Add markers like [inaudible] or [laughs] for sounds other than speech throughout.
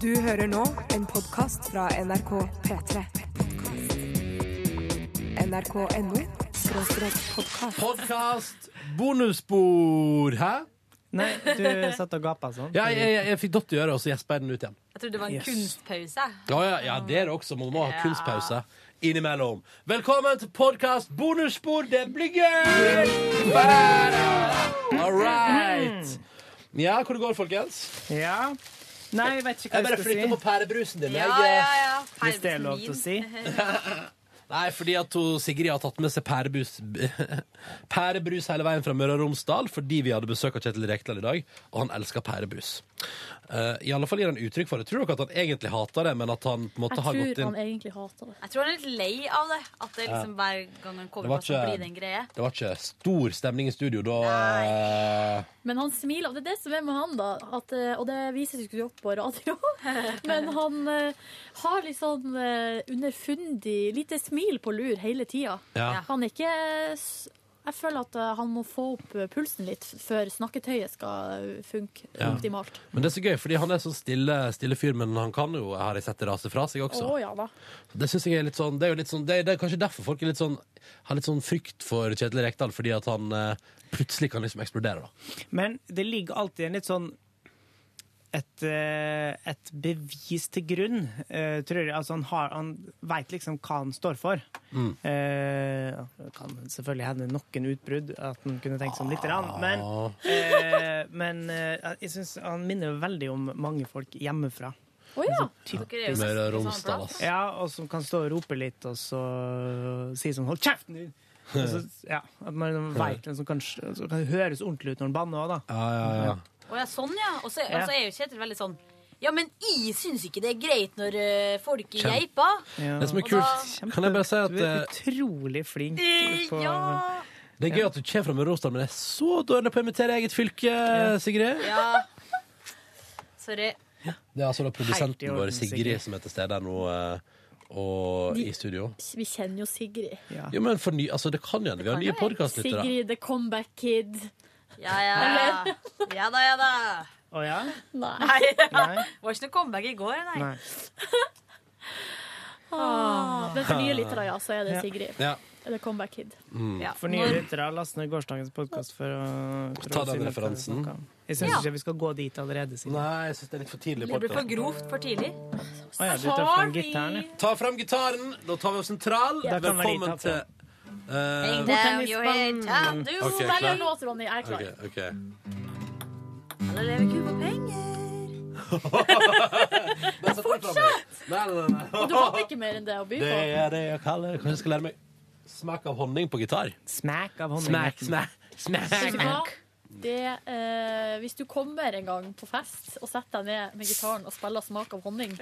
Du hører nå en podkast fra NRK P3. NRK.no podkast. Podkast! Bonusspor! Hæ? [laughs] Nei, du satt og gapa sånn. Ja, jeg, jeg, jeg fikk dott i øret, og så gjespa jeg den ut igjen. Jeg trodde det var en Yes. kunstpause. Ja, ja, ja det er det også. Man må ha Ja. kunstpause innimellom. Velkommen til podkast bonusspor. Det blir gøy! All right. Mm. Ja, hvor det går, folkens? Ja. Nei, jeg vet ikke Jeg bare hva jeg skal si. flytter på pærebrusen din. Ja, Jeg, ja, eh, ja. Hvis det er lov til å si. Nei, fordi at hun, Sigrid har tatt med seg pærebrus, [laughs] pærebrus hele veien fra Møre og Romsdal fordi vi hadde besøk av Kjetil Rekdal i dag, og han elsker pærebrus. Eh, I alle fall gir han uttrykk for det. Tror dere at han egentlig hater det, men at han på en måte Jeg har tror gått inn han egentlig hater det. Jeg tror han er litt lei av det. At det liksom hver gang han Det kommer var på, så ikke- blir det en greie. Det var ikke stor stemning i studio da eh, Men han smiler. og Det er det som er med han, da. At, eh, og det vises jo ikke opp på [laughs] radio. Men han eh, har litt sånn eh, underfundig lite smil på lur hele tida. ja. Ja. Han er ikke s- Jeg føler at eh, han må få opp eh, pulsen litt f- før snakketøyet skal eh, funke Ja. optimalt. Men det er så gøy, fordi han er sånn stille, stille fyr, men han kan jo, har jeg sett, rase fra seg Å også. ja da. Det synes jeg er litt sånn, det er jo litt sånn, det er, det er kanskje derfor folk er litt sånn, har litt sånn frykt for Kjetil Rekdal, fordi at han eh, plutselig kan liksom eksplodere da. Men det ligger alltid en litt sånn et, eh, et bevis til grunn, eh, tror jeg. Altså han, har, han vet liksom hva han står for. Eh, det kan selvfølgelig hende noen utbrudd, at han kunne tenkt sånn lite grann. Men, eh, men eh, jeg syns han minner veldig om mange folk hjemmefra. Å ja. Dere er jo Møre og nesten på samme Romsdal, plass. ass. Ja, og som kan stå og rope litt, og så si sånn 'hold kjeften din'! Og så, ja, at man vet hvem som kan, som kan høres ordentlig ut når han banner òg, da. Ja, ja, ja. Å ja, sånn, ja. Og så og så er jo Kjetil veldig sånn Ja, men jeg syns ikke det er greit når eh, folk er Kjem- geiper. Ja. Det som er kult, kan jeg bare si at Du eh, er utrolig flink Eh, på Ja. det er gøy at du kommer fra Møre og Romsdal, men jeg er så dårlig på å imitere eget fylke, Sigrid. ja. Sorry. Det er altså da Helt i produsenten orden, vår, Sigrid, Sigrid. som er til stede her nå, eh, og De- i studio. Vi kjenner jo Sigrid. Ja. Jo, men for ny, altså det kan jo, hende vi har nye podcastlyttere. Sigrid the comeback kid. Ja, ja. Ja da, ja da. Å ja? Nei. Nei, det Nei? var ikke noe comeback i går, nei. Nei. Ah, men for nye lyttere, ja, så er det Sigrid. Ja, The comeback kid. Ja. For nye lyttere, last ned gårsdagens podkast for å for Ta å den si noe referansen. om. Jeg syns Ja. ikke vi skal gå dit allerede. Siden. nei, jeg synes det er litt for tidlig Det blir for podcast. grovt for tidlig. Å ja, du tar fram gitaren, ja. Ta fram gitaren, da tar vi oss en trall. Da kan vi Velkommen ta til Hang uh, down your head, top Du Ok, må velge klar. en sånn låt, Ronny. Jeg er klar. Ok, ok Alle lever kun på penger. Nei, nei, nei, nei. Du hadde ikke mer enn det å by Det på. er det jeg kaller Kanskje jeg skal lære meg smak av honning på gitar. Smack av hånden. Smack, smack, Vet du smack. hva? Det, eh, hvis du kommer en gang på fest og setter deg ned med gitaren og spiller 'Smak av honning',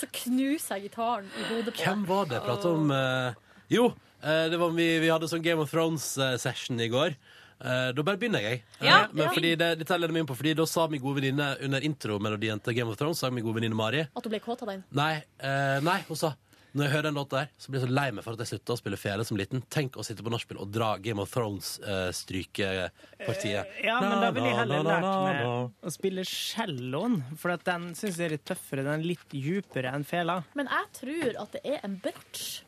så knuser jeg gitaren i hodet på Hvem var det jeg pratet om? eh, jo, eh, det var vi, vi hadde sånn Game of Thrones-session i går. Eh, da bare begynner jeg. Eh, Ja, men ja. fordi det, dette leder meg inn på Fordi da sa min gode venninne under intromelodien til Game of Thrones Sa min gode venninne Mari at du ble kåt av den. Nei, eh, nei, hun sa Når jeg hører den låta der, så blir jeg så lei meg for at jeg slutta å spille fele som liten. Tenk å sitte på nachspiel og dra Game of eh, Thrones-strykepartiet. Eh. Ja, men da ville jeg Na, heller na, lært na, meg na. å spille celloen, for at den syns jeg er litt tøffere. Den er litt djupere enn fela. Men jeg tror at det er en bratsj.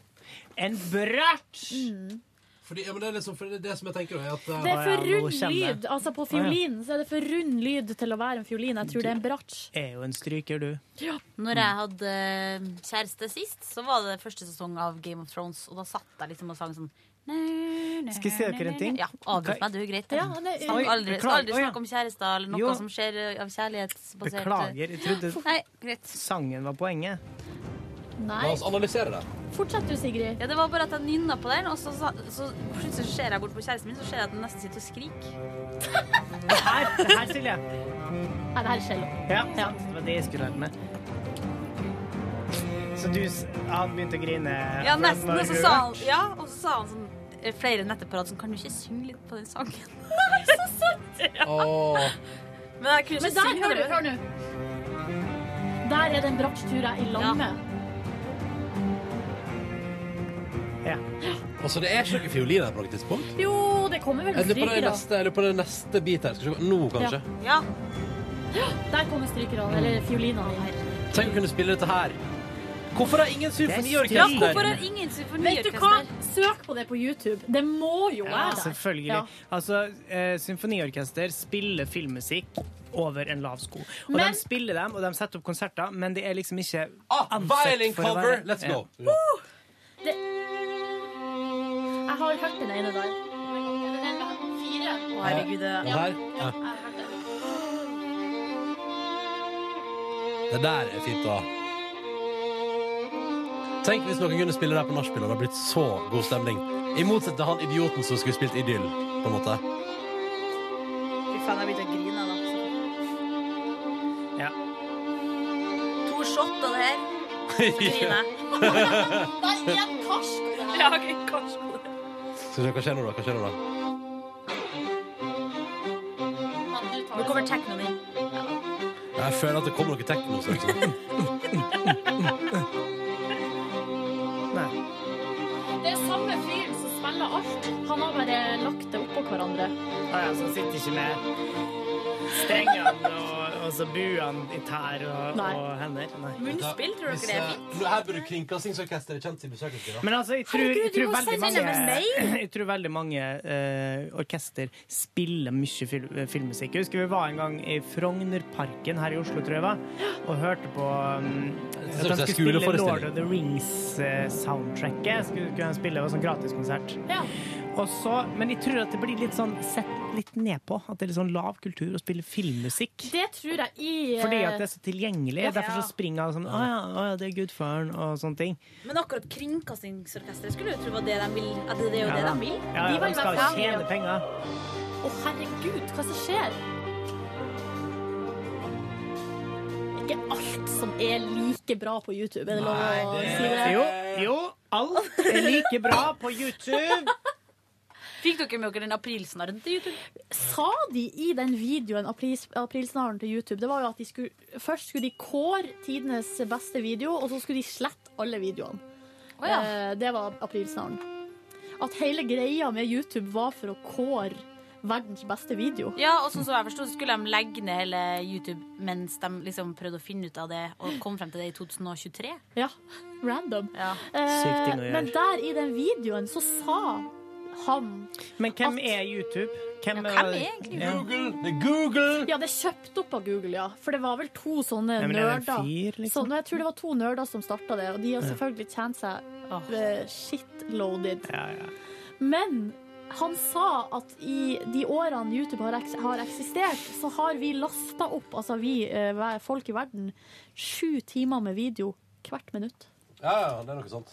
En brært! Mm. Fordi, ja, men det er liksom, fordi det, er det som jeg tenker, er at Det eh, er for ja, nå rund kjenner jeg. lyd. Altså På ja. fiolinen så er det for rund lyd til å være en fiolin. Jeg tror det er en bratsj. Er jo en stryker, du. Når Mm. jeg hadde eh, kjæreste sist, så var det første sesong av Game of Thrones. Og da satt jeg liksom og sang sånn Skal jeg si dere en ting? Ja, avbryt Ok. meg, du er greit. Ja, det. det, Snakk aldri, beklager. skal Å, aldri ja. snakke om kjærester eller noe Jo. som skjer eh, av kjærlighetsbasert Beklager. Jeg trodde Nei, greit. sangen var poenget. La nei. oss analysere det. Fortsett du, Sigrid. Ja, Det var bare at jeg nynna på den, og så, sa- så plutselig så ser jeg bort på kjæresten min, så ser jeg at den nesten sitter og skriker. Her, her Silje! Nei, det her er cello. Ja, sant. Det var det jeg skulle lært meg. Så du s- Han begynte å grine? Ja, for at nesten. den var Og så sa rørt. han, ja, og så sa han sånn eh, flere netter på rad sånn Kan du ikke synge litt på den sangen? Åh, Men jeg kunne Men ikke der, synge hør du, det. hør nå. Der er det en bratsjtur jeg er i lag Ja. med. Ja. Altså, det er ikke noe fiolin her på noe tidspunkt. Jo, det kommer vel Jeg lurer på det strykere. neste, jeg lurer på det neste bit her. Skal vi se. Nå, kanskje. Ja. Der kommer strykerne, Mm. eller fiolinene. Tenk å kunne spille dette her. Hvorfor har ingen ja, symfoniorkester? hvorfor har ingen Vet du hva? symfoniorkester? Søk på det på YouTube. Det må jo Ja, være der. selvfølgelig. Ja. Altså, eh, symfoniorkester spiller filmmusikk over en lav sko. Og Men- de spiller dem, og de setter opp konserter, men det er liksom ikke Ah, ansett violin for å cover, være- let's Ja. go. Jeg har hørt den ene der. Å, herregud, det Og her. Ja. Det der er fint, da. Tenk hvis noen kunne spille der på nachspiel, og det hadde blitt så god stemning. I motsetning til han idioten som skulle spilt Idyll, på en måte. [laughs] Fy faen, jeg begynte å grine. altså. da. Ja. To shot av det her. Så griner jeg. Ja, ok, kanskje. Skal vi se, hva skjer nå, da? Hva skjer nå, da? Nå kommer teknoen inn. Jeg føler at det kommer noe tekno. så Liksom. Nei. Det er samme fyren som spiller alt. Han har bare lagt det oppå hverandre. Ah, ja, så han sitter ikke med strengene og, og så buene i tær og, Nei. og hender. Nei. Munnspill, tror dere det er fint? Nå, Her burde Kringkastingsorkesteret kjent sin besøkelse. da. Men altså, jeg tror, jeg Herregud, du tror må veldig sende mange, dem en mail. [laughs] jeg tror veldig mange eh, orkester spiller mye fil eh, filmmusikk. Jeg husker vi var en gang i Frognerparken her i Oslo, tror jeg, var, og hørte på um, synes det er at de skulle spille skoleforestilling. Lord of the Rings-soundtracket. skulle, skulle de spille, det var sånn gratiskonsert. Ja. Og så, men jeg tror at det blir litt sånn sett litt ned på, at det er litt sånn lav kultur å spille filmmusikk. Det tror jeg i eh, Fordi at det er så tilgjengelig. Ja. Derfor så springer alle sånn Å ja, å, ja det er gudfaren, og sånne ting. Men akkurat Kringkastingsorkesteret skulle jo tro var det de vil. At det er Ja, jo det da. de Ja, vil. De ja, vil de skal jo være fan, tjene ja. penger. Å, herregud, hva som skjer? Ikke alt som er like bra på YouTube, er det lov å si det? Jo, Eh. jo, alt er like bra på YouTube. Fikk dere med dere den aprilsnarren til YouTube? Sa de i den videoen, apris- aprilsnaren til YouTube, det var jo at de skulle, først skulle de kåre tidenes beste video, og så skulle de slette alle videoene. Å ja. Eh, Det var aprilsnaren. At hele greia med YouTube var for å kåre verdens beste video. Ja, og sånn som jeg forstod, så skulle de legge ned hele YouTube mens de liksom prøvde å finne ut av det, og kom frem til det i 2023. Ja, random. Ja. Eh, ting å gjøre. Men der i den videoen så sa han Men hvem er YouTube? Hvem Ja, hvem er egentlig Ja. Google! Det Mm. er Google! Ja, det er kjøpt opp av Google, ja. For det var vel to sånne Ja, men er det en nerder. fyr, liksom? Sånn, jeg tror det var to nerder som starta det, og de har selvfølgelig tjent seg Åh. eh, shitloaded. Ja, ja. Men han sa at i de årene YouTube har, eks har eksistert, så har vi lasta opp, altså vi eh, hver- folk i verden, sju timer med video hvert minutt. Ja, ja, det er noe sånt.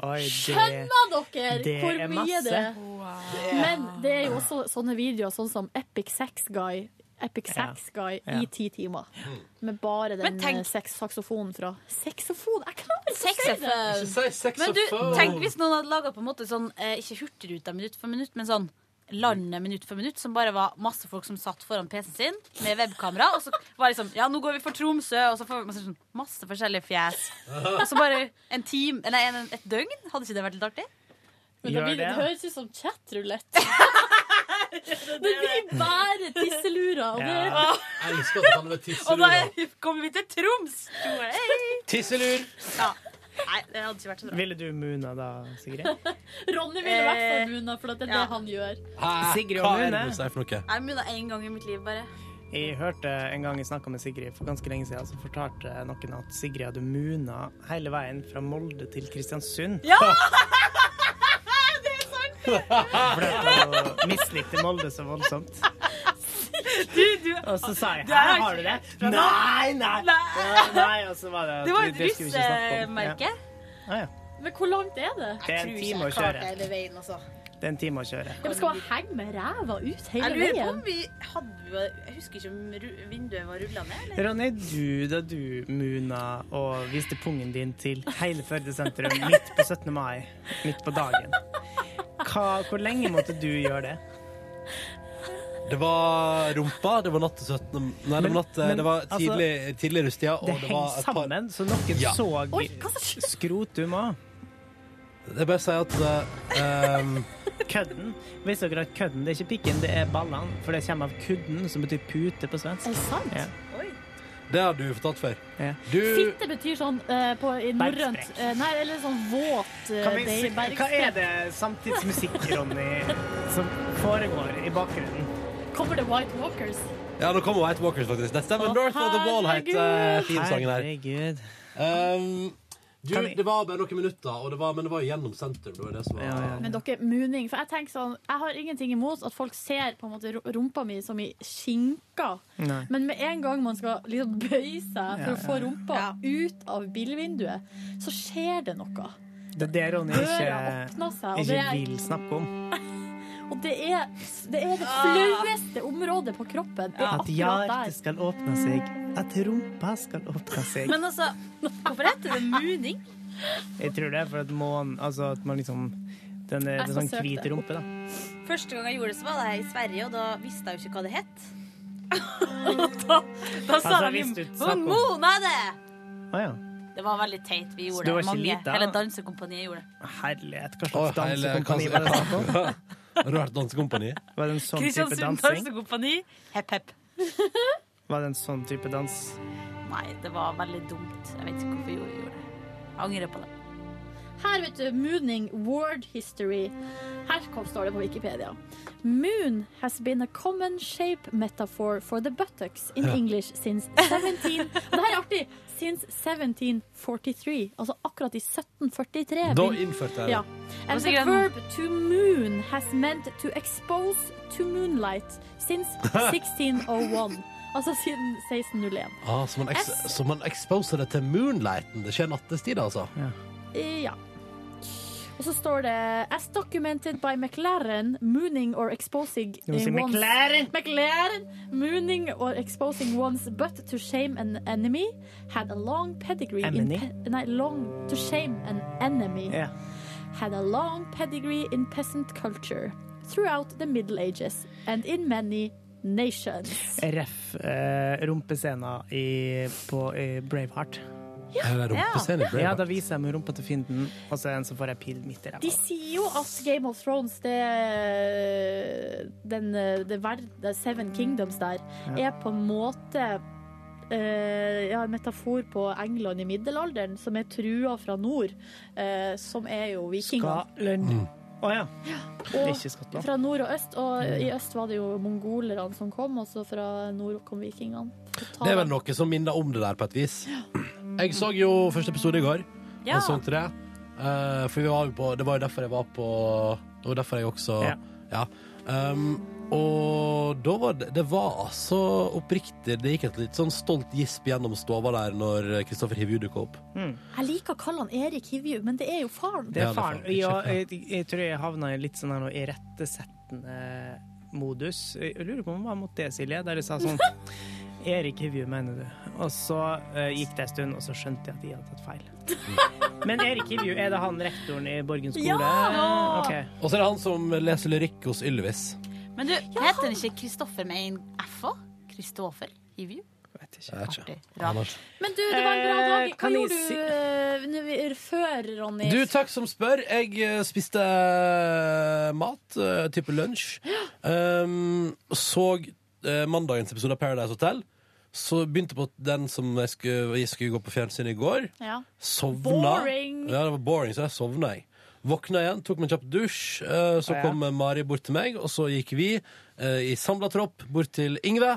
Oi, det Skjønner dere det hvor er mye masse. det er? Men det er jo også sånne videoer sånn som Epic Sex Guy. Epic Ja. Sex Guy Ja. i ti timer. Med bare den Men tenk- eh, sex- saksofonen fra Saksofon? Jeg klarer ikke å si det! Sexaphone. Si sex Men og du, phone. tenk hvis noen hadde laga på en måte sånn eh, Ikke Hurtigruta minutt for minutt, men sånn Landet minutt for minutt, som bare var masse folk som satt foran PC-en sin med webkamera. Og så var det liksom Ja, nå går vi for Tromsø, og så får vi masse, sånn, masse forskjellige fjes. Og så bare en time Nei, en, et døgn. Hadde ikke det vært litt artig? Men da Gjør blir det. det, det høres ut som [laughs] chatrulett. det blir bare tisselurer. Og det, ja. Jeg elsker at du kaller det [laughs] Og da tisselur. da. er- kommer vi til Troms! Hei. Tisselur! Ja. Nei, det hadde ikke vært så bra. Ville du Muna da, Sigrid? Ronny ville vært Eh, fra Muna, for at det er ja. det han gjør. Hæ? Sigrid og Hva er det Rune. du sier for noe? Jeg munna én gang i mitt liv, bare. Jeg hørte en gang jeg snakka med Sigrid for ganske lenge siden, så fortalte noen at Sigrid hadde Muna hele veien fra Molde til Kristiansund. [laughs] Ja! [laughs] For hun mislikte Molde så voldsomt. [laughs] Du, du, Og så sa jeg er her ikke har du det. Nei, nei! Nei. Ja, nei og så var det, det var et skulle vi ikke snakke om. Ja. russemerke. Ah, ja. Men hvor langt er det? Det er en time å kjøre. altså. Det er en time å kjøre. Ja, men skal man henge med ræva ut hele Jeg lurer på om veien? vi hadde Jeg husker ikke om ru- vinduet var rulla ned, eller? Ronny, du da du muna og viste pungen din til hele Førde sentrum midt på 17. mai, midt på dagen, Hva, hvor lenge måtte du gjøre det? Det var rumpa, det var natt til 17. Nei, det var, natt, eh, Men- det var altså, tidlig, tidlig i rusttida, og Det det, var henger et par sammen, så noen Ja. så Oi, hva som skjer? skrotum òg. Jeg bare sier at eh, ehm, Kødden. Visste dere at kødden det er ikke pikken, det er ballene? For det kommer av kudden, som betyr pute på svensk. Er det sant? Ja. Det har du fortalt før. Ja. Du Fitte betyr sånn eh, på, i norrønt Bergsprekk. eh, Nei, eller sånn våt eh, Kan vi si- dei- Hva er bergsprekk. det samtidsmusikk, Ronny, som foregår i bakgrunnen? Kommer det White Walkers? Ja, nå kommer White Walkers, faktisk. Det stemmer. Å, North of the Wall het uh, herregud. teamsangen her. Herregud. Ehm, du, Kan vi- det var bare noen minutter, og det var, men det var jo gjennom sentrum. Det var det som var Ja, ja. Men dere, muning For jeg tenker sånn Jeg har ingenting imot at folk ser på en måte ru- rumpa mi som i skinka. Nei. Men med en gang man skal liksom bøye seg for å få rumpa ut av bilvinduet, så skjer det noe. Det er det Ronny Døra ikke, åpner seg, og det ikke er, vil snakke om. og det, er, det, er det Ah. flaueste området på kroppen. Det er At akkurat hjertet der. skal åpne seg. At rumpa skal åpne seg. Men altså, hvorfor heter det muning? Jeg tror det er for at månen Altså at man liksom den er, det er Jeg skal sånn søke hvit det. rumpe, da. Første gang jeg gjorde det, så var det her i Sverige, og da visste jeg jo ikke hva det het. Og [laughs] da, da sa Altså, de hvis du snakker om- Hormonene! Å ja. Det var veldig teit. Vi Så gjorde du var det. ikke Sånn Mange. lita? Hele dansekompaniet gjorde det. Herlighet, hva Å, slags hele dansekompani hva- var det snakk om? [laughs] Har du vært dansekompani? Var det en sånn type Kristiansund dansing? dansekompani. Hepp, hepp. Var det en sånn type dans? Nei, det var veldig dumt. Jeg vet ikke hvorfor jeg gjorde det. Jeg angrer på det. Her, vet du, mooning word history. Her kom- står det på Wikipedia. Moon has been a common shape metaphor for the buttocks in English since 17... Og [laughs] det her er artig! Since 1743. Altså akkurat i Da 1743. begynte- innførte jeg det. Ja. And the sikkert en- verb to moon has meant to expose to moonlight [laughs] since 1601. Altså siden 1601. Ah, så, man eks- S. så man exposer det til moonlighten. Det skjer nattestid, altså. Eh, Ja. Og så står det As documented by McLaren, mooning or exposing Du må si eh, one's- McLaren. McLaren, mooning or exposing one's butt to shame an enemy, had a long pedigree Enemy? in pe Nei, long to shame an enemy. Ja. had a long pedigree in peasant culture throughout the Middle Ages and in many nations. Ref eh, rumpescena i, på eh, Braveheart. Her er rumpescenen i Ja, Braveheart. da viser jeg meg rumpa til fienden, og så er det en som får ei pil midt i De ræva. sier jo at Game of Thrones, det, den, det verden, Seven Kingdoms der, er på en måte eh, ja, en metafor på England i middelalderen, som er trua fra nord, eh, som er jo vikingene. Scotland. Mm. Å ja. Og Ikke Mm. Skottland. fra nord og øst, og i øst var det jo mongolerne som kom, og så fra nord kom vikingene. Det er vel noe som minner om det der, på et vis. Jeg så jo første episode i går. Ja. Og sånt det. Eh, for vi var jo på, det var jo derfor jeg var på Det var derfor jeg også Ja. Ja. Um, og da var det Det var altså oppriktig Det gikk et litt sånn stolt gisp gjennom stova der når Kristoffer Hivju dukka opp. Jeg liker å kalle han Erik Hivju, men det er jo faren. Det Ja, det er er faren. faren. Ja, jeg, jeg tror jeg havna i litt sånn her nå irettesettende modus. Jeg lurer på om det var mot det, Silje, der jeg sa [laughs] sånn Erik Hivju, mener du? Og så eh, gikk det en stund, og så skjønte jeg at jeg hadde tatt feil. [laughs] Men Erik Hivju, er det han rektoren i Borgen skole? Ja! Ok. Og så er det han som leser lyrikk hos Ylvis. Men du, heter den ikke Kristoffer med en F òg? Kristoffer Hivju? Jeg vet ikke. Jeg vet Artig. ikke. Rart. Anders. Men du, det var en bra Eh, dag. Hva kan jeg gjorde si- du eh, når vi- før, Ronny? Du, takk som spør. Jeg eh, spiste eh, mat, eh, type lunsj. Um, så eh, mandagens episode av Paradise Hotel. Så begynte på den som jeg skulle, jeg skulle gå på fjernsyn i går. Ja. Sovna. Boring. Ja, det var boring, så jeg sovna. jeg Våkna igjen, tok meg en kjapp dusj. eh, Så Ja. kom eh, Mari bort til meg, og så gikk vi eh, i samla tropp bort til Yngve.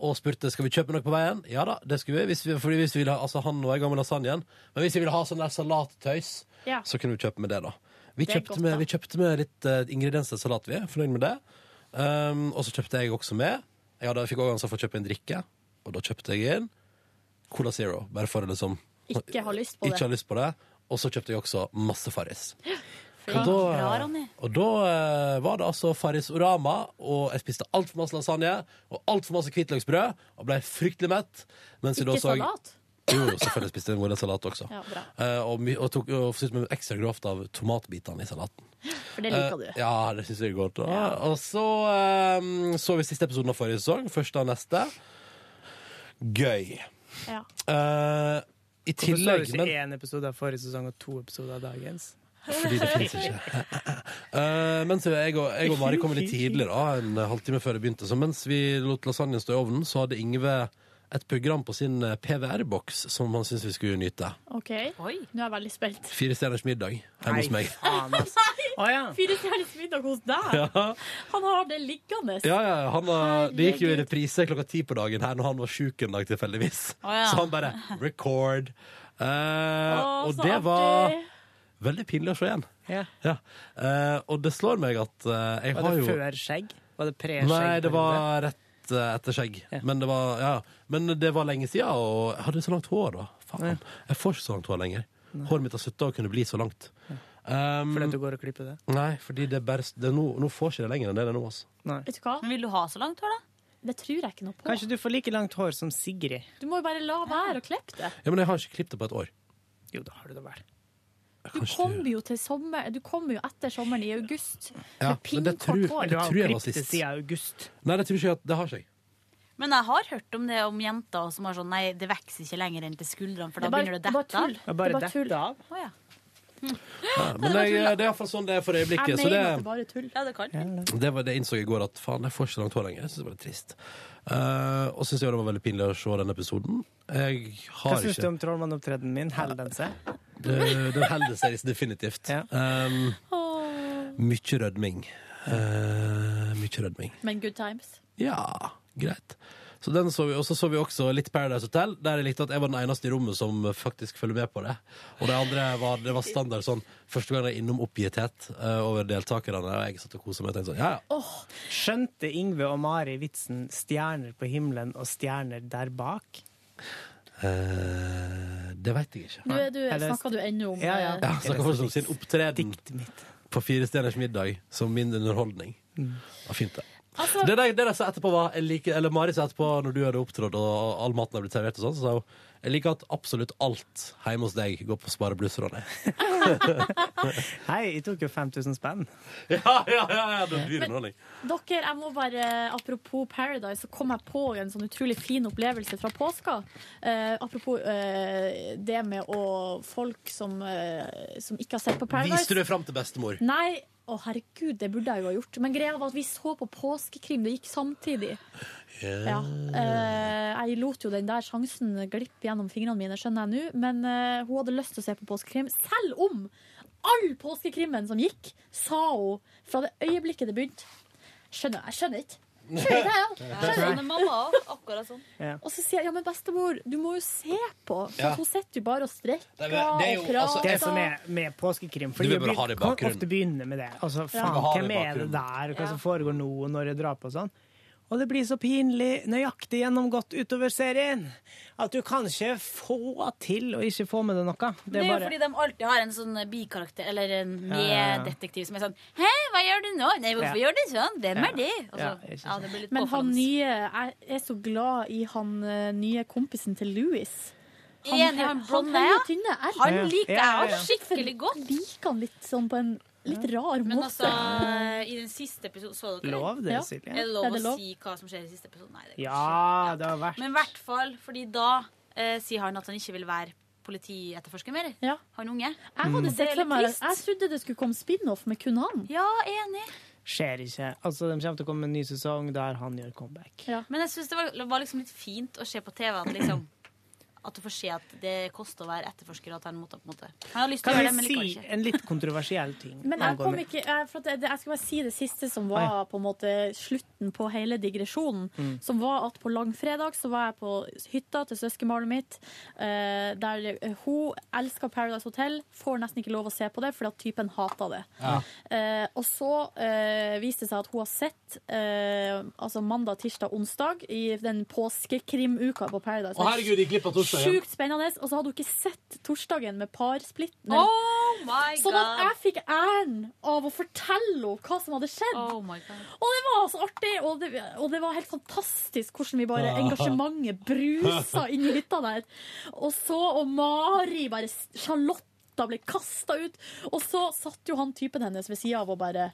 Og spurte skal vi kjøpe noe på veien. Ja da, det skulle vi. Hvis vi, fordi hvis vi ville ha, altså Han var i gang med lasagnen. Men hvis vi ville ha sånn der salattøys, Ja. så kunne vi kjøpe med det, da. Vi Det er kjøpte, godt, med, da. vi kjøpte med litt eh, ingredienser til salat, vi. er Fornøyd med det. Um, og så kjøpte jeg også med. Jeg hadde, fikk også ansvar for å kjøpe en drikke, og da kjøpte jeg inn Cola Zero. Bare for å liksom Ikke har lyst på ikke det. har lyst på det. Og så kjøpte jeg også masse [gasps] Farris. Flink. da, Bra, Ronny. og da eh, var det altså Farris Orama, og jeg spiste altfor masse lasagne og altfor masse hvitløksbrød og ble fryktelig mett. Mens vi da Ikke så salat. Jo, jo, selvfølgelig spiste jeg en god salat også. [laughs] Ja, bra. Eh, og, my- og tok og syntes meg ekstra grovt av tomatbitene i salaten. For det liker du. Eh, ja, det syns jeg er godt. Og, og så eh, så vi siste episoden av forrige sesong. Første av neste. Gøy. Ja. Eh, I Hvorfor står det tillegg ikke én episode av forrige sesong og to episoder av dagens? Fordi det fins [laughs] ikke. Eh, men så jeg og, jeg og Mari kom litt tidligere, da, en eh, halvtime før det begynte. Så mens vi lot lasagnen stå i ovnen, så hadde Ingve et program på sin eh, PVR-boks som han syntes vi skulle nyte. OK, Oi. nå er jeg veldig spent. [laughs] Fire stjerners middag hjemme hos meg. faen, [laughs] ass. Å ja. Fire stjerners middag hos deg! Ja. Han har det liggende. Ja, ja, han var, Det gikk jo i Herregud. reprise klokka ti på dagen her når han var sjuk en dag tilfeldigvis. Å, ja. Så han bare record. Eh, Å, og så det artig. var veldig pinlig å se igjen. ja. Ja. Eh, og det slår meg at eh, jeg Var har det jo før skjegg? Var det pre-skjegg? Nei, det periode? var rett eh, etter skjegg. Ja. Men, det var, ja. Men det var lenge siden, og jeg hadde så langt hår da. Faen. Jeg får ikke så langt hår lenger. Håret mitt har slutta å kunne bli så langt. Um, Fordi at du går og klipper det? Nei, fordi det er bare det er nå- Nå får ikke det lenger enn det det er nå. Altså. Nei. Vet du hva? Men vil du ha så langt hår, da? Det tror jeg ikke noe på. Kanskje du får like langt hår som Sigrid? Du må jo bare la være å klippe det. Ja, Men jeg har ikke klippet det på et år. Jo, da har du det vel. Du Kanskje kommer jo til sommer, du kommer jo etter sommeren i august Ja, med men det pinnkort tror- hår. Du har tror jo jeg var klippet det sist. siden august. Nei, det tror ikke jeg at det har seg. Men jeg har hørt om det om jenter som har sånn Nei, det vokser ikke lenger enn til skuldrene, for da begynner det å bare dette tull. av. Det er bare det er bare tull. dette av. Å, ja. Ja, men jeg, det er iallfall sånn det er for øyeblikket. Jeg Så mener det, at det er bare tull. ja, det kan hende. det, var, det innså jeg i går at faen, jeg får ikke langt hår lenger. Jeg synes det var litt trist. Eh, og syns jeg det var veldig pinlig å se den episoden. Jeg Hva har syns du ikke om trollmannopptredenen min? Holder den seg? det, Den holder seg definitivt. Ja. Um, mykje rødming. Uh, mykje rødming. Men good times. Ja, greit. Så den så vi, Og så så vi også litt Paradise Hotel, der jeg likte at jeg var den eneste i rommet som faktisk følger med på det. Og det andre var, det var standard sånn første gang jeg er innom oppgitthet eh, over deltakerne. Og jeg satt og koset meg og tenkte sånn, ja, ja. Skjønte Yngve og Mari vitsen 'stjerner på himmelen og stjerner der bak'? Eh, det veit jeg ikke. Nå er du, Eller- snakker du ennå om Ja, ja. eh, Ja, Snakka fortsatt om sin opptreden Diktet mitt. på Fire stjerners middag som min underholdning. Det var fint, det. Altså, Det der, det der sa etterpå var jeg liker, Eller Mari sa etterpå, når du hadde opptrådt og all maten hadde blitt servert, og sånn, så sa hun jeg liker at absolutt alt hjemme hos deg går på sparebluss, [laughs] Ronny. Hei, jeg tok jo 5000 spenn. Ja, ja, ja, ja, det var dyr underholdning. Dere, jeg må bare, Apropos Paradise, så kom jeg på en sånn utrolig fin opplevelse fra påska. Eh, apropos eh, det med å folk som, eh, som ikke har sett på Viste du Paradise. det fram til bestemor? Nei, å herregud, det burde jeg jo ha gjort. Men greia var at vi så på påskekrim. Det gikk samtidig. Ja. Eh, jeg lot jo den der sjansen glippe gjennom fingrene mine, skjønner jeg nå. Men eh, hun hadde lyst til å se på påskekrim, selv om all påskekrimmen som gikk, sa hun fra det øyeblikket det begynte. Skjønner, jeg skjønner ikke. Skjønner ikke, jeg, ja. Ja, sånn er mamma også, akkurat sånn. Og så sier jeg ja, men bestemor, du må jo se på. For Ja. hun sitter jo bare og strekker Det er- det er jo- og prater. altså, Det som er med påskekrim For Du vil de bare ha begyn- det i kan bakgrunnen. ofte begynne med det. Altså, faen, bare ha det i hvem er det bakgrunnen. der, og hva som foregår nå, og når det er drap og sånn. Og det blir så pinlig nøyaktig gjennomgått utover serien at du kan ikke få til å ikke få med deg noe. Det Det er er jo bare fordi de alltid har en sånn bikarakter, eller en ja, ja. meddetektiv, som er sånn Hei, hva gjør du nå? Nei, hvorfor Ja. gjør du sånn? Hvem er det? Og Ja, så, ikke sant. ja, det blir litt Men han påfallende. nye, jeg er så glad i han eh, nye kompisen til Louis. Enig, han han blonde, høye, ja. tynne er Han liker Ja, ja, jeg ja. også skikkelig godt. liker han litt sånn på en litt rar Men altså, måte. i den siste episoden Så dere det? lov, det, Ja. Er Silje. det Er lov det å lov? si hva som skjer i siste episode? Nei, det kan Ja, det har ikke. vært Men i hvert fall, fordi da eh, sier han at han ikke vil være politietterforsker mer. Ja. Han unge. Jeg Mm. hadde Det sett er litt for meg trist. Jeg trodde det skulle komme spin-off med kun han. Ja, enig. Skjer ikke. Altså, de kommer til å komme med en ny sesong der han gjør comeback. Men jeg syns det var, var liksom litt fint å se på TV at liksom at du får se at det koster å være etterforsker. og At han, måtte, på en måte. han har lyst til å Kan gjøre det, men vi likevel si ikke. en litt kontroversiell [laughs] ting? Men jeg kom angående- ikke eh, for at det, Jeg skal bare si det siste som var Ah, på en måte slutten på hele digresjonen. Mm. Som var at på langfredag så var jeg på hytta til søskenbarnet mitt. eh, der eh, hun elsker Paradise Hotel, får nesten ikke lov å se på det fordi at typen hater det. Eh, og så eh, viste det seg at hun har sett eh, altså mandag, tirsdag, onsdag i den påskekrimuka på Paradise. Å herregud, gikk glipp av torsdagen. Sjukt spennende. Og så hadde hun ikke sett torsdagen med parsplitten. Oh my Sånn at god! jeg fikk æren av å fortelle henne hva som hadde skjedd. Oh my god. Og det var så artig, og det, og det var helt fantastisk hvordan vi bare engasjementet brusa inn i hytta der. Og så, og Mari bare Charlotta ble kasta ut. Og så satt jo han typen hennes ved sida av og bare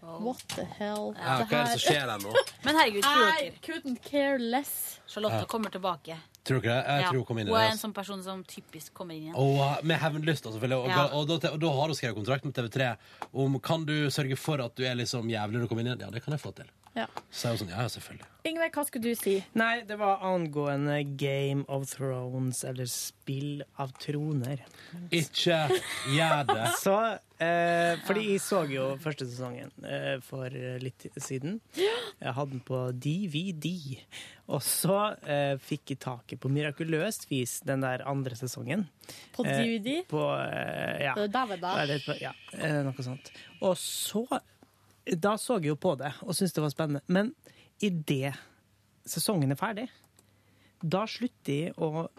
What the hell? Ja, hva er det som skjer her nå? Men herregud, tror I dere couldn't care less. Charlotte kommer tilbake. Tror dere det? Jeg Ja. tror hun kom inn i Hun det. er en altså. sånn person som typisk kommer inn igjen. Og uh, med hevnlyst, da, selvfølgelig. Og, Ja. og, da, og da har hun skrevet kontrakt med TV3 om kan du sørge for at du er liksom jævlig når du kommer inn igjen. Ja, det kan jeg få til. Ja. Så er hun sånn, ja, ja, selvfølgelig. Yngve, hva skulle du si? Nei, det var angående Game of Thrones, eller Spill av troner. Ikke gjør Ah. det. Så, eh, fordi jeg så jo første sesongen eh, for litt siden. Jeg hadde den på DVD. Og så eh, fikk jeg taket på mirakuløst vis den der andre sesongen. På Eh, DVD? På, eh, ja. Det der var Hva det. er det etterpå? Ja, eh, noe sånt. Og så Da så jeg jo på det og syntes det var spennende. Men idet sesongen er ferdig, da slutter jeg å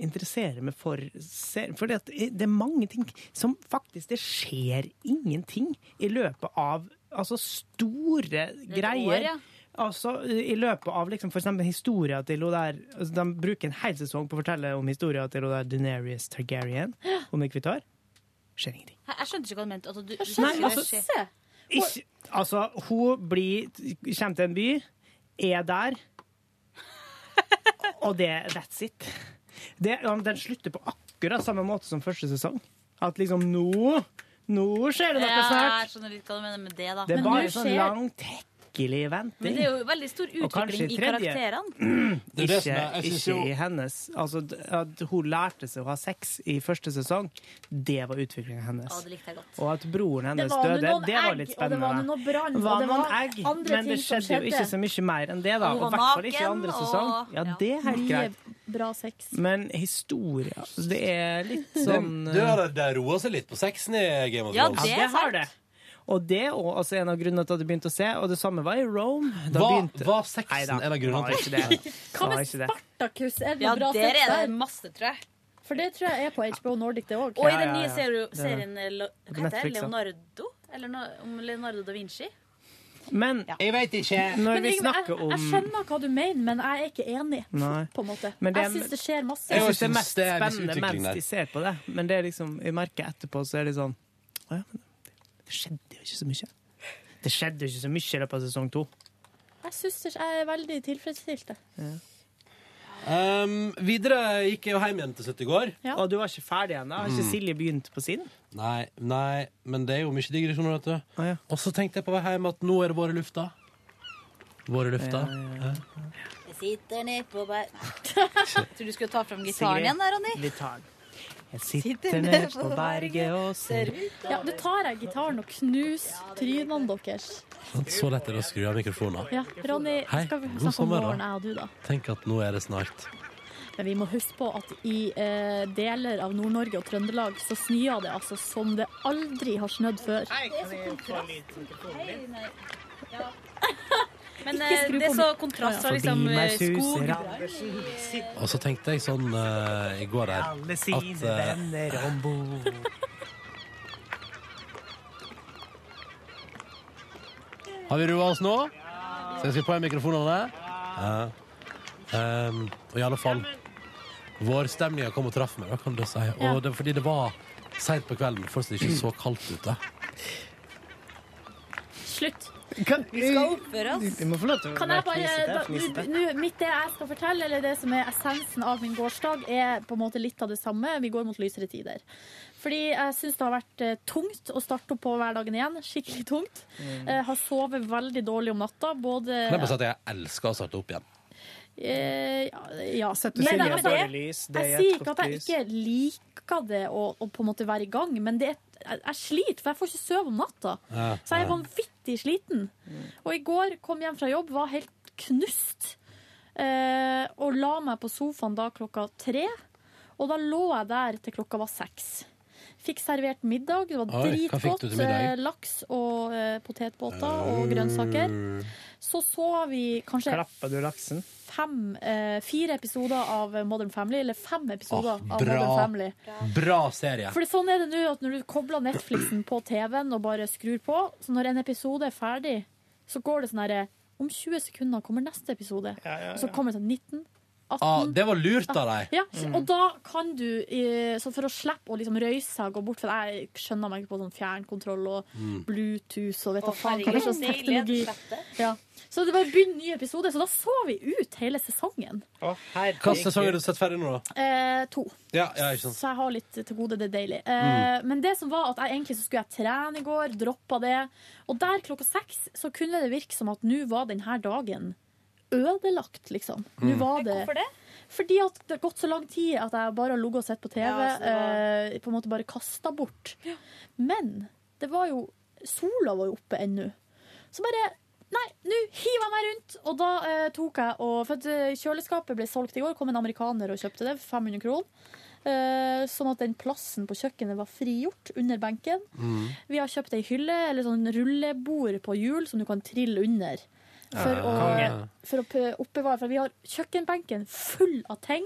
interessere meg for serien. For det, det er mange ting som faktisk Det skjer ingenting i løpet av altså store greier. år, ja. Altså, I løpet av liksom, for eksempel historia til hun der altså, De bruker en hel sesong på å fortelle om historia til hun der Denerius Targaryen. Om ikke vi tar. Skjer ingenting. Jeg, jeg skjønte ikke hva du mente. Altså, du, du, Nei, sier det altså, skjer. se. Ikke, altså, hun blir Kommer til en by, er der, og det That's it. Det, ja, men den slutter på akkurat samme måte som første sesong. At liksom nå Nå skjer det noe Ja, jeg snart! skjønner litt hva du mener med det, da. Det er Men, bare nå sånn skjer- langt, tekkelig venting. men det er jo veldig stor kanskje utvikling i tredje. karakterene. Det er jo det som ikke, er, jeg synes ikke jo i hennes Altså, d- at hun lærte seg å ha sex i første sesong, det var utviklingen hennes. Ja, det likte jeg godt. Og at broren Det hennes var nå døde, noen det var egg, litt og det var nå spennende. noe brann, Det Mm. og var det noen var egg, andre men det ting som skjedde jo ikke så skjedde. mye mer enn det, da. Og Og hun i var hvert fall ikke i naken, andre og- sesong. Ja, ja. det er helt greit. Mye bra sex. Men historie altså, Det er litt det, sånn det, det- det roer seg litt på sexen i Game of Ja, Thrones. Ja, Det det er sant. har det. Og det er også altså, en av grunnene til at du begynte å se, og det samme var i Rome. Da Hva begynte var sexen Nei da, en av grunnene var til ikke det. Hva Var med ikke det. Spartakus? Er det Ja, noe bra der sex er det der? masse, tror jeg. For det tror jeg er på HBO Nordic, det òg. Og i Ja, ja, den nye ja. serio- Det er det. serien eh, Lo- Hva heter det? Netflix, ja. Leonardo? Eller no, om Leonardo da Vinci? Men Jeg veit ikke. når Men vi Yngve, jeg, snakker om jeg skjønner hva du mener, men jeg er ikke enig. Nei. På en måte. Men det- jeg syns det skjer masse. Jeg Jeg syns det er synes mest det er en viss spennende utvikling mens der. de ser på det. Men det er liksom, jeg merker etterpå, så er det sånn Å ja, men det skjedde jo ikke så mye. Det skjedde jo ikke så mye i løpet av sesong to. Jeg, synes det, jeg er veldig tilfredsstilt. jeg. Um, videre gikk jeg jo hjem igjen til 70 i går. Ja. Og du var ikke ferdig ennå? Har ikke Silje begynt på sin? Nei, nei, men det er jo mye digresjoner, vet du. Å ja. Og så tenkte jeg på vei hjem at nå er det vår i lufta. Vår i lufta. Jeg sitter ned på bær... [laughs] Tror du skulle ta fram gitaren Sigrid. igjen der, Ronny? Vi tar den. Jeg sitter ned på berget og ser Ja, nå tar jeg gitaren og knuser trynene deres. Sånn, Så lett er det å skru av mikrofonen. Ja, Ronny, Hei, skal vi god snakke om sommer, da. våren, jeg og du, da? Tenk at nå er det snart. Men vi må huske på at i eh, deler av Nord-Norge og Trøndelag så snør det altså som det aldri har snødd før. Hei, kan jeg få litt Men Ikke eh, skru det på er så kontrast fra liksom Forbi eh, meg skog suser Andersen, sitter Og så tenkte jeg sånn eh, i går her alle at sine eh, venner om bord. Har vi roa oss nå? Skal jeg skru på igjen mikrofonene? Ja. Um, og i alle fall Vårstemninga kom og traff meg, da kan du si. Ja. Og det, var fordi det var seint på kvelden, fortsatt ikke så kaldt ute. Slutt. Vi skal opp. for oss. Vi må få lov til å Kan jeg være bare, da, fnisete, nu- fnisete. nu- mitt det jeg skal fortelle, eller det som er essensen av min gårsdag, er på en måte litt av det samme. Vi går mot lysere tider. Fordi jeg syns det har vært eh, tungt å starte opp på hverdagen igjen. Skikkelig tungt. Eh, har sovet veldig dårlig om natta. Både Kan jeg bare si at jeg elsker å starte opp igjen. Eh, ja, ja. Sett Men Silje det- i dårlig lys, det Jeg er sier et ikke godt at jeg lys. ikke liker det å, å på en måte være i gang, men det er, jeg, jeg sliter, for jeg får ikke sove om natta. Ja, Så jeg er vanvittig sliten. Og i går kom hjem fra jobb, var helt knust, eh, og la meg på sofaen da klokka tre. Og da lå jeg der til klokka var seks. Fikk servert middag, det var Oi, hva fikk dritgodt. du til middag? eh, Laks og eh, potetbåter og grønnsaker. Så så vi kanskje Klappa du laksen? fem, eh, fire episoder av Modern Family, eller fem episoder Åh, bra. av Modern Family. Bra serie. For det- sånn er det nå at når du kobler Netflixen på TV-en og bare skrur på, så når en episode er eh, ferdig, så går det sånn herre Om 20 sekunder kommer neste episode. Og så kommer det sånn 19, Ah, Mm. 18 det var lurt av deg. ja, og da kan du, eh, så for å slippe å liksom røyse seg og gå bort, for jeg skjønner meg ikke på sånn fjernkontroll og Mm. Bluetooth og vet da faen hva det er slags teknologi. Ja. Så det bare begynner en ny episode, så da så vi ut hele sesongen. Hvilken sesong har du sett ferdig nå, da? Eh, to. Ja, ja, ikke sant. Mm. Så jeg har litt til gode, det er deilig. Eh, Men det som var at jeg egentlig så skulle jeg trene i går, droppa det. Og der klokka seks så kunne det virke som at nå var denne dagen ødelagt, liksom. Nå Mm. var det Hvorfor det? Fordi at det har gått så lang tid at jeg bare har ligget og sett på TV. Ja, så det var- eh, på en måte bare kasta bort. Men det var jo Sola var jo oppe ennå. Så bare Nei, nå hiver jeg meg rundt! Og da eh, tok jeg og For at eh, kjøleskapet ble solgt i går, kom en amerikaner og kjøpte det for 500 kroner. Eh, sånn at den plassen på kjøkkenet var frigjort under benken. Mm. Vi har kjøpt ei hylle, eller sånn rullebord på hjul, som du kan trille under. For å, konge. for å p- oppbevare For vi har kjøkkenbenken full av ting.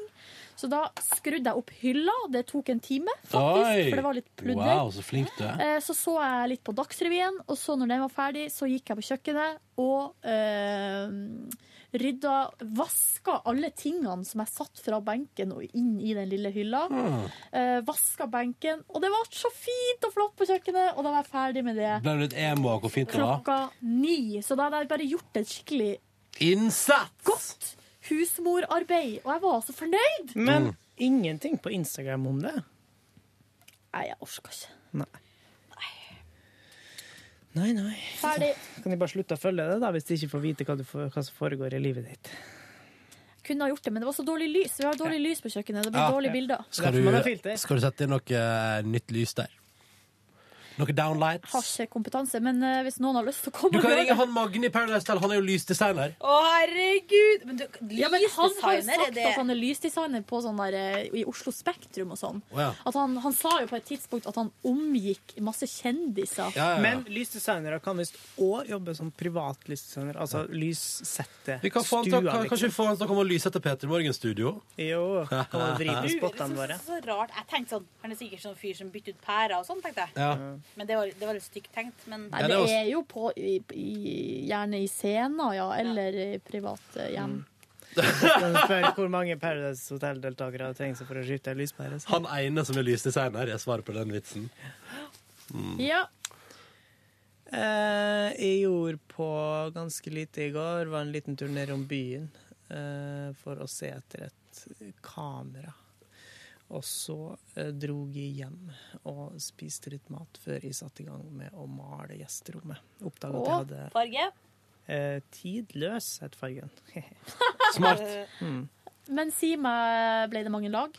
Så da skrudde jeg opp hylla. Det tok en time, faktisk, Oi. for det var litt pludder. Wow, så flink du er. Eh, Så så jeg litt på Dagsrevyen, og så når den var ferdig, så gikk jeg på kjøkkenet og eh, rydda Vaska alle tingene som jeg satt fra benken og inn i den lille hylla. Hmm. Eh, vaska benken, og det var så fint og flott på kjøkkenet, og da var jeg ferdig med det. Ble du litt emo av hvor fint det var? Klokka ni. Så da hadde jeg bare gjort et skikkelig Innsats! husmorarbeid, og jeg var så fornøyd! Men ingenting på Instagram om det. Nei, jeg orka ikke. Nei, nei. Ferdig. Kan de bare slutte å følge det, da, hvis de ikke får vite hva, du får, hva som foregår i livet ditt? Kunne ha gjort det, men det var så dårlig lys. Vi har dårlig lys på kjøkkenet. Det blir Ja. dårlige bilder. Skal Derfor man har du, filter. skal du sette inn noe eh, nytt lys der? Noe downlights? har ikke kompetanse, men eh, hvis noen har lyst til å komme Du kan og ringe gjøre det han Magne i Paradise Tell, han er jo lysdesigner. Å, herregud! Men du, ja, men Han har jo lysdesigner, er sagt det at han er lysdesigner på sånn der, eh, i Oslo Spektrum og sånn. Å, ja. At han, han sa jo på et tidspunkt at han omgikk masse kjendiser. Ja, ja, ja. Men lysdesignere kan visst òg jobbe som privatlysdesigner. Altså lyssette vi kan få han til, å- kan, kanskje liksom. vi får han til å komme og lyse etter Peter Morgens studio? Jo, kan [laughs] man vri på Du, spottene det er våre. så, så rart. Jeg tenkte sånn, Han er sikkert sånn fyr som bytter ut pærer og sånn, tenkte jeg. Ja. Men det var, det var litt stygt tenkt. Men Nei, Ja, det det er også- er jo på, i, i, gjerne i scener, ja, eller i private hjem. Kan du spørre hvor mange Paradise Hotel-deltakere trengs for å skifte lyspære? så- Han ene som er lysdesigner, jeg svarer på den vitsen. Mm. Ja, Eh, jeg gjorde på ganske lite i går. Var en liten tur ned om byen eh, for å se etter et kamera. Og så eh, dro jeg hjem og spiste litt mat før jeg satte i gang med å male gjesterommet. Oppdaga at jeg Å. hadde farge? eh, tidløs, het fargen. [laughs] Smart. eh, men si meg, ble det mange lag?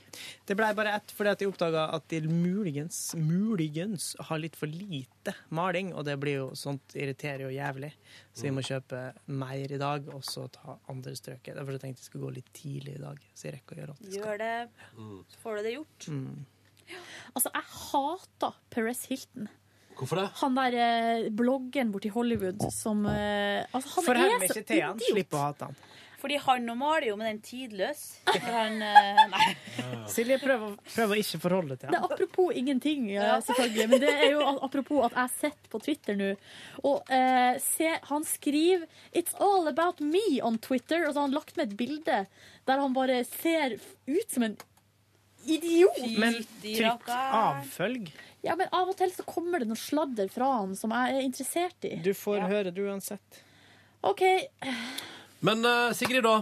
Det blei bare ett fordi at jeg oppdaga at de muligens, muligens har litt for lite maling, og det blir jo sånt irriterer jo jævlig. Så vi må kjøpe mer i dag, og så ta andre strøket. Derfor så tenkte jeg skulle gå litt tidlig i dag, så jeg rekker å gjøre alt jeg skal. Gjør det, Mm. så får du det gjort. Altså, jeg hata Perez Hilton. Hvorfor det? Han der eh, bloggeren borti Hollywood som eh, altså, Han Forhør er meg så ikke til han. idiot! Slipp å hate han. Fordi han nå maler jo med den tidløs. For han, eh, nei. Silje, prøv å, prøv å ikke forholde deg Det til er han. apropos ingenting, eh, selvfølgelig. Men det er jo apropos at jeg sitter på Twitter nå og eh, ser Han skriver 'It's all about me' on Twitter, og så har han lagt med et bilde der han bare ser f- ut som en idiot. Men Fytti trykk rakkeren. avfølg. Ja, men av og til så kommer det noe sladder fra han som jeg er interessert i. Du får høre det uansett. OK, Men eh, Sigrid, da.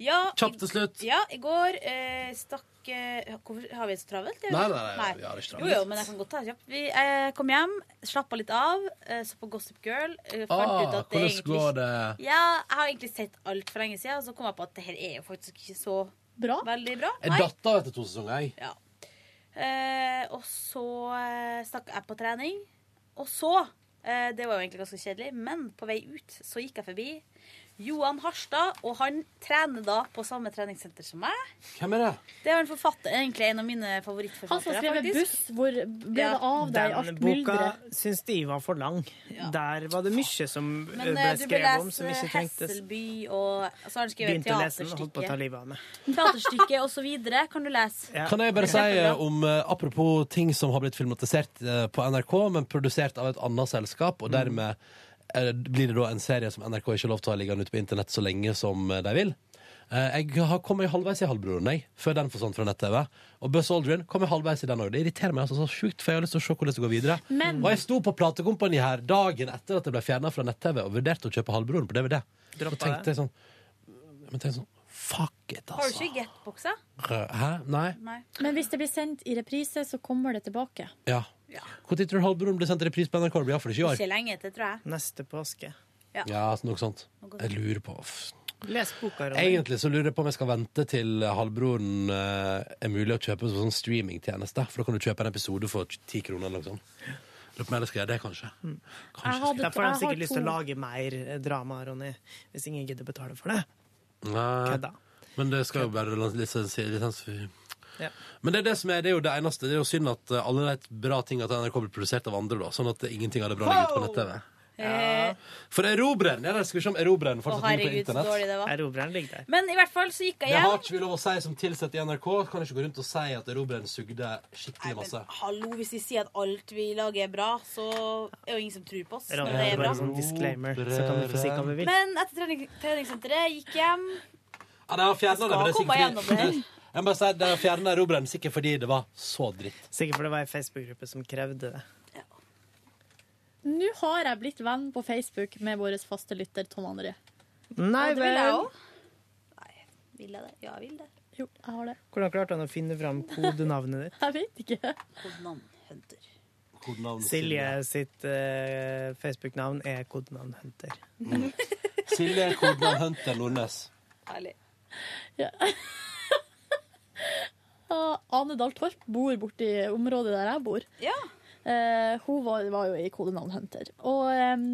Ja, i- Kjapt til slutt. Ja, i går eh, stakk eh, Hvorfor har vi det så travelt? Nei, nei, nei, vi har det ikke travelt. Jo, jo, men jeg kan godt ta det kjapt. Vi eh, kom hjem, slappa litt av, eh, så på Gossip Girl. Eh, fant ut Ah, at det hvordan egentlig går det? Ja, jeg har egentlig sett alt for lenge siden, og så kom jeg på at det her er jo faktisk ikke så bra. veldig bra. Jeg datt av etter to sesonger, jeg. Ja. Eh, og så eh, stakk jeg på trening. Og så eh, Det var jo egentlig ganske kjedelig, men på vei ut så gikk jeg forbi Johan Harstad, og han trener da på samme treningssenter som meg. Hvem er det? Det er en forfatter, egentlig en av mine Han som har favorittforfattere. skrevet faktisk. 'Buss', hvor ble Ja, det av deg Den alt boka mylderet? syns de var for lang. Der var det mye som eh, Men ble eh, du bør skrevet om som lese ikke trengtes. Hesselby, og så har han skrevet Begynte å lese den og holdt på å ta teaterstykke, livet av meg. teaterstykke og så videre. Kan du lese? Ja. Kan jeg bare si eh, om eh, Apropos ting som har blitt filmatisert eh, på NRK, men produsert av et annet selskap, og dermed eh, blir det da en serie som NRK ikke har lov til å ha liggende ute på internett så lenge som eh, de vil. Eh, Jeg har kommet halvveis i Halvbroren jeg, før den forsvant fra nett-TV. Og Buzz Aldrin kom jeg halvveis i den òg. Det irriterer meg altså så sjukt, for jeg har lyst til å se hvordan det går videre. Men- Og jeg sto på platekompani her dagen etter at det ble fjerna fra nett-TV, og vurderte å kjøpe Halvbroren på DVD. Droppa og tenkte jeg sånn, men tenkte sånn Fuck it, Har du ikke altså. i getboxa? Hæ? Nei? Nei. Men hvis det blir sendt i reprise, så kommer det tilbake. Ja. Når tror du Halvbroren blir sendt i repris på NRK? Det blir iallfall ikke i år. Ikke lenge etter, tror jeg. Neste påske. Ja, altså, noe sånt. Jeg lurer på uff. Les boka, Ronny. Egentlig så lurer jeg på om jeg skal vente til halvbroren eh, er mulig å kjøpe som sånn streamingtjeneste. For da kan du kjøpe en episode for ti kroner eller noe sånt. Lurer på om jeg skal gjøre det, kanskje. Kanskje Jeg hadde- Da får han jeg har sikkert lyst til to- å lage mer eh, drama, Ronny. Hvis ingen gidder betale for det. skal- Nei, Kødda. men det skal jo være lisens- lisens... Ja. Men det er det som er, det er jo det eneste. Det er jo synd at eh, alle de bra tinga til NRK blir produsert av andre, da. Sånn at eh, ingenting av det bra ligger ute på nett-TV. Eh, For Erobreren ja, der skal vi se om Erobreren Å, fortsatt ligger på herregud, så internett. dårlig det var. Erobreren ligger der. Men i hvert fall så gikk jeg Det har hjem. ikke vi lov å si som tilsatt i NRK. Kan ikke gå rundt og si at Erobreren sugde skikkelig Men masse. hallo, hvis vi sier at alt vi lager er bra, så er jo ingen som tror på oss. Ronny Når det hadde er bra. bare en sånn disclaimer, så kan vi få si hva vi vil. Men etter trening, treningssenteret gikk hjem. Ja, de har fjernet det, men det er Skal komme sikkert fordi gjennom det. [laughs] Jeg må bare si, De har fjernet Erobreren sikkert fordi det var så dritt. Sikkert for det var ei Facebook-gruppe som krevde det. Nå har jeg blitt venn på Facebook med vår faste lytter Tom André. Nei Ja, det vil jeg vel. òg. Nei, vil jeg det? Ja, jeg vil det. Jo, jeg har det. Hvordan klarte han å finne fram kodenavnet ditt? Jeg vet ikke. Kodenavn Hunter. Kodenavn Silje sitt eh, Facebook-navn er kodenavn Hunter. Silje er kodenavn Hunter Nordnes. Herlig. Ah, Ane Dahl Torp bor borti området der jeg bor. Ja. Eh, hun var, var jo i kodenavn Hunter. Og ehm,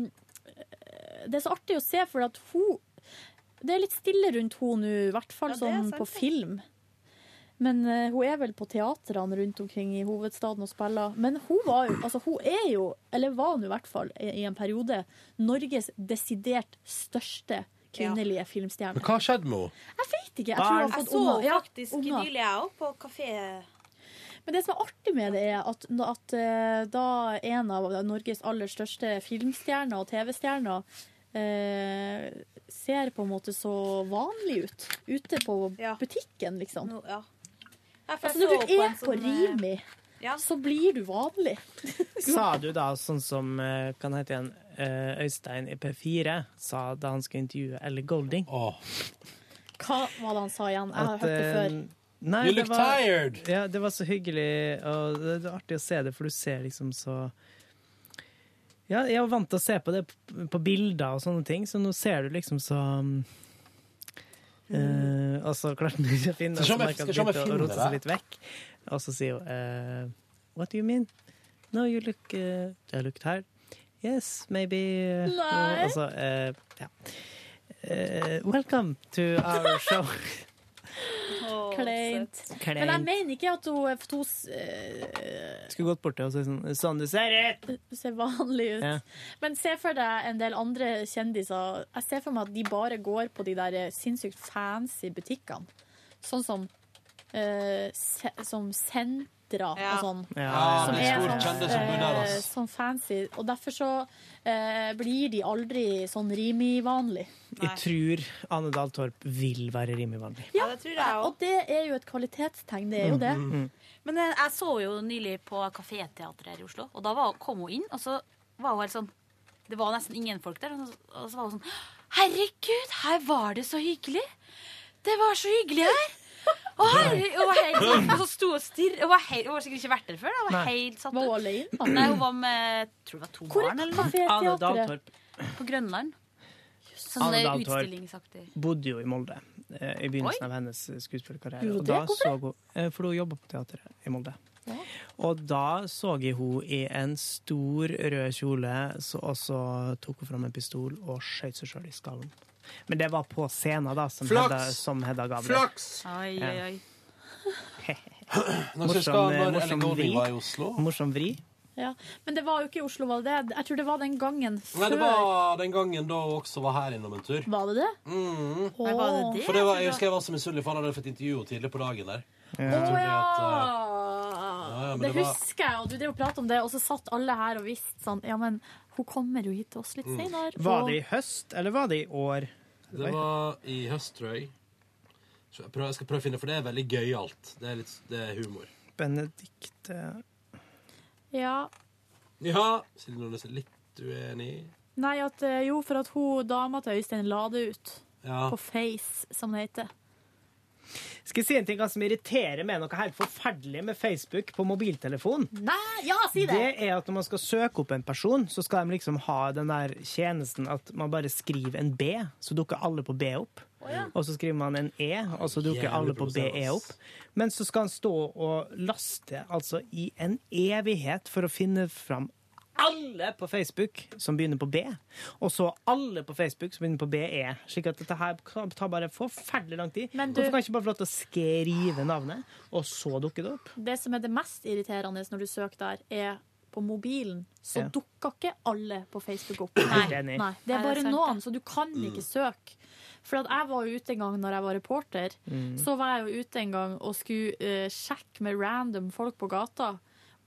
det er så artig å se, for at hun Det er litt stille rundt hun nå, i hvert fall Ja, det er sånn sant, på det. film. Men eh, hun er vel på teatrene rundt omkring i hovedstaden og spiller. Men hun var jo, altså hun er jo, eller var nå i hvert fall i i en periode, Norges desidert største kvinnelige filmstjerne. Men hva skjedde med henne? Jeg vet ikke. Jeg tror hun har Jeg fått så unger. Ja, faktisk unger. nylig, jeg òg, på kafé. Men det som er artig med det, er at, at eh, da en av Norges aller største filmstjerner og TV-stjerner eh, ser på en måte så vanlig ut ute på Ja. butikken, liksom. Nå, ja. Ja, for jeg Altså, når så du er en på sånn, eh, Rimi, ja. så blir du vanlig. Sa du da sånn som eh, kan hete igjen eh, Øystein i P4 sa da han skulle intervjue Elle Golding? Åh. Hva var det han sa igjen? Jeg har hørt det eh, før. Nei, You det look var, tired! ja, det var så hyggelig, og det det er artig å se det, for du ser liksom så Ja, jeg var vant til å se på det p- på bilder og sånne ting, så nå ser du liksom så mm, eh, og så klarte han ikke å finne Skal Mm. se om så jeg- merket skal se om han jeg begynte å finner rote seg det. litt vekk. Og så sier hun eh, What do you mean? No, you look uh, I look tired. Yes, maybe eh, Nei. Og så eh, ja. Eh, welcome to our show. Å, Kleint. [laughs] Men jeg mener ikke at hun, for hun eh, Skulle gått bort til henne og sagt sånn Sånn du ser ut! ser vanlig ut. Ja. Men se for deg en del andre kjendiser. Jeg ser for meg at de bare går på de der sinnssykt fancy butikkene. Sånn som, eh, se, som sentra Ja. og sånn. Ja, Ja, Som Ah, det er stor er sånn, kjendis som bor der, eh, ass. sånn fancy. Og derfor så eh, blir de aldri sånn Rimi-vanlig. Jeg tror Ane Dahl Torp vil være rimelig vanlig. Ja, det tror jeg òg. Og det er jo et kvalitetstegn, det er Mm, jo det. Men eh, jeg så jo nylig på Kaféteatret her i Oslo, og da var, kom hun inn, og så var hun helt sånn Det var nesten ingen folk der, og så, og så var hun sånn Herregud, her var det så hyggelig! Det var så hyggelig her! Og, herre, og, var helt, sånn- og så sto og stirret. Hun var, helt- hun var sikkert ikke vært der før. Da. Hun var Nei. helt satt Var hun ut. alene? da? Nei, hun var med jeg tror det var to barn Hvor er eller noe, Ane Dahl kaféteatret? Torp på Grønland. Sånn Anne det Dahl Torp. utstillingsaktig. bodde jo i Molde eh, i begynnelsen av hennes skuespillerkarriere. Gjorde Og da det? Hvorfor? så hun, eh, for hun jobba på teateret i Molde. Og da så jeg hun i en stor rød kjole, så, og så tok hun fram en pistol og skjøt seg sjøl i skallen. Men det var på scenen, da, som, Flaks! Hedda, som Hedda Gabriel. Flaks! Oi, Ja. oi, oi. Nå skal jeg Morsom, skal eh, når morsom Mm. Ellen Golding vri. var i Oslo. Morsom vri. Ja. Men det var jo ikke i Oslo, var det det? Jeg tror det var den gangen før. Nei, det var den gangen da hun også var her innom en tur. Var det det? Mm. Åh. Nei, var det det? For det var, Jeg husker jeg var så misunnelig, for han hadde fått intervju henne tidlig på dagen der. Å trodde eh, ja! ja, men det, det var- husker jeg, og du drev og pratet om det, og så satt alle her og visste sånn Ja, men hun kommer jo hit til Mm. oss litt senere. Var det Og- i høst, eller var det i år? Det var i høst, tror jeg. Så Jeg, prøver, jeg skal prøve å finne, for det er veldig gøyalt. Det, er litt- det er humor. Benedicte Ja. Ja, Silje Nordnes er litt uenig. Nei, at, eh, jo, for at hun dama til Øystein la det ut. Ja. På Face, som det heter. Skal jeg si en ting altså, som irriterer meg noe helt forferdelig med Facebook på mobiltelefon? Nei, ja, si det! Det er at når man skal søke opp en person, så skal de liksom ha den der tjenesten at man bare skriver en B, så dukker alle på B opp. Og så skriver man en E, og så dukker Jævlig alle på BE provoserende, ass. opp. Men så skal han stå og laste altså i en evighet for å finne fram alle på Facebook som begynner på B, og så alle på Facebook som begynner på BE. Slik at dette her kan- tar bare forferdelig lang tid. Men du- Hvorfor kan jeg ikke bare få lov til å skrive navnet, og så dukke det opp? Det som er det mest irriterende når du søker der, er på mobilen. Så Ja. dukker ikke alle på Facebook opp. Nei. Helt enig. Nei, det Nei, er det er bare sant, noen, så du kan ikke søke. For at jeg var jo ute en gang når jeg var reporter. Så var jeg jo ute en gang og skulle eh, sjekke med random folk på gata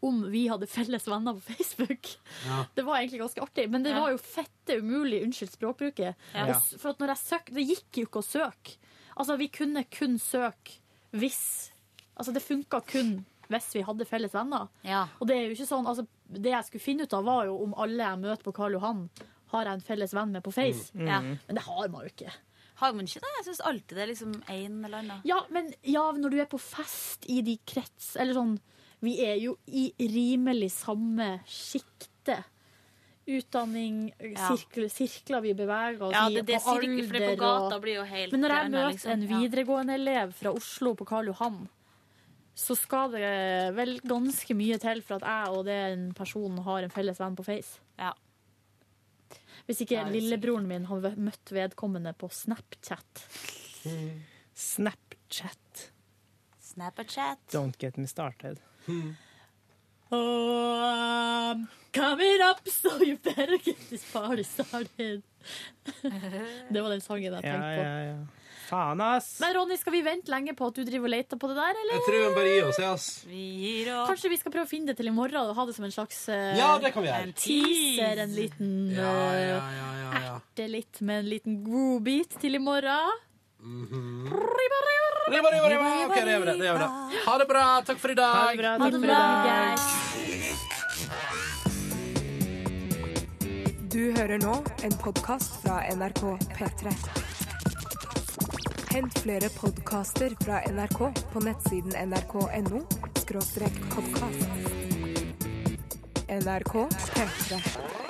om vi hadde felles venner på Facebook. Ja. Det var egentlig ganske artig, men det Ja. var jo fette umulig. Unnskyld språkbruket. Ja. Og s- For at når jeg søk, det gikk jo ikke å søke. Altså, vi kunne kun søke hvis Altså, det funka kun hvis vi hadde felles venner. Ja. Og det er jo ikke sånn, altså, det jeg skulle finne ut av, var jo om alle jeg møter på Karl Johan, har jeg en felles venn med på Face. ja. Men det har man jo ikke. Har man ikke det? Jeg syns alltid det er liksom én eller annen. Ja, men ja, når du er på fest i de krets, eller sånn, vi er jo i rimelig samme skikte. Utdanning, Ja. sirkler, sirkler vi beveger oss Ja, i, det, det og sirkler, for det alder på gata og... blir jo helt Men når det jeg ender, møter liksom. en Ja. videregående elev fra Oslo på Karl Johan, så skal det vel ganske mye til for at jeg og den personen har en felles venn på Face. Ja. Hvis ikke Ja, det er lillebroren min har møtt vedkommende på Snapchat. Snapchat. Snapchat. Don't get me started. Oh, um, I'm coming up, so you better get this party started. [laughs] det var den sangen jeg tenkte Ja, på. ja, ja. Faen, ass! Men Ronny, skal vi vente lenge på at du driver og leter på det der, eller? Jeg tror vi bare gir oss, jeg, ass. Vi gir oss Kanskje vi skal prøve å finne det til i morgen og ha det som en slags eh, Ja, det kan vi gjøre. en teaser, tease. en liten Ja, ja, eh, ja, ja, ja. erte litt med en liten groove-beat til i morgen. Ribba, ribba, ribba. Ribba, ribba, ribba. Ok, det gjør vi det. det gjør vi det. Ha det bra. Takk for i dag. Ha det bra. Ha Takk det for i bra, dag. guys. Du hører nå en podkast fra NRK P3. Hent flere podkaster fra NRK på nettsiden nrk.no podkast. NRK P3.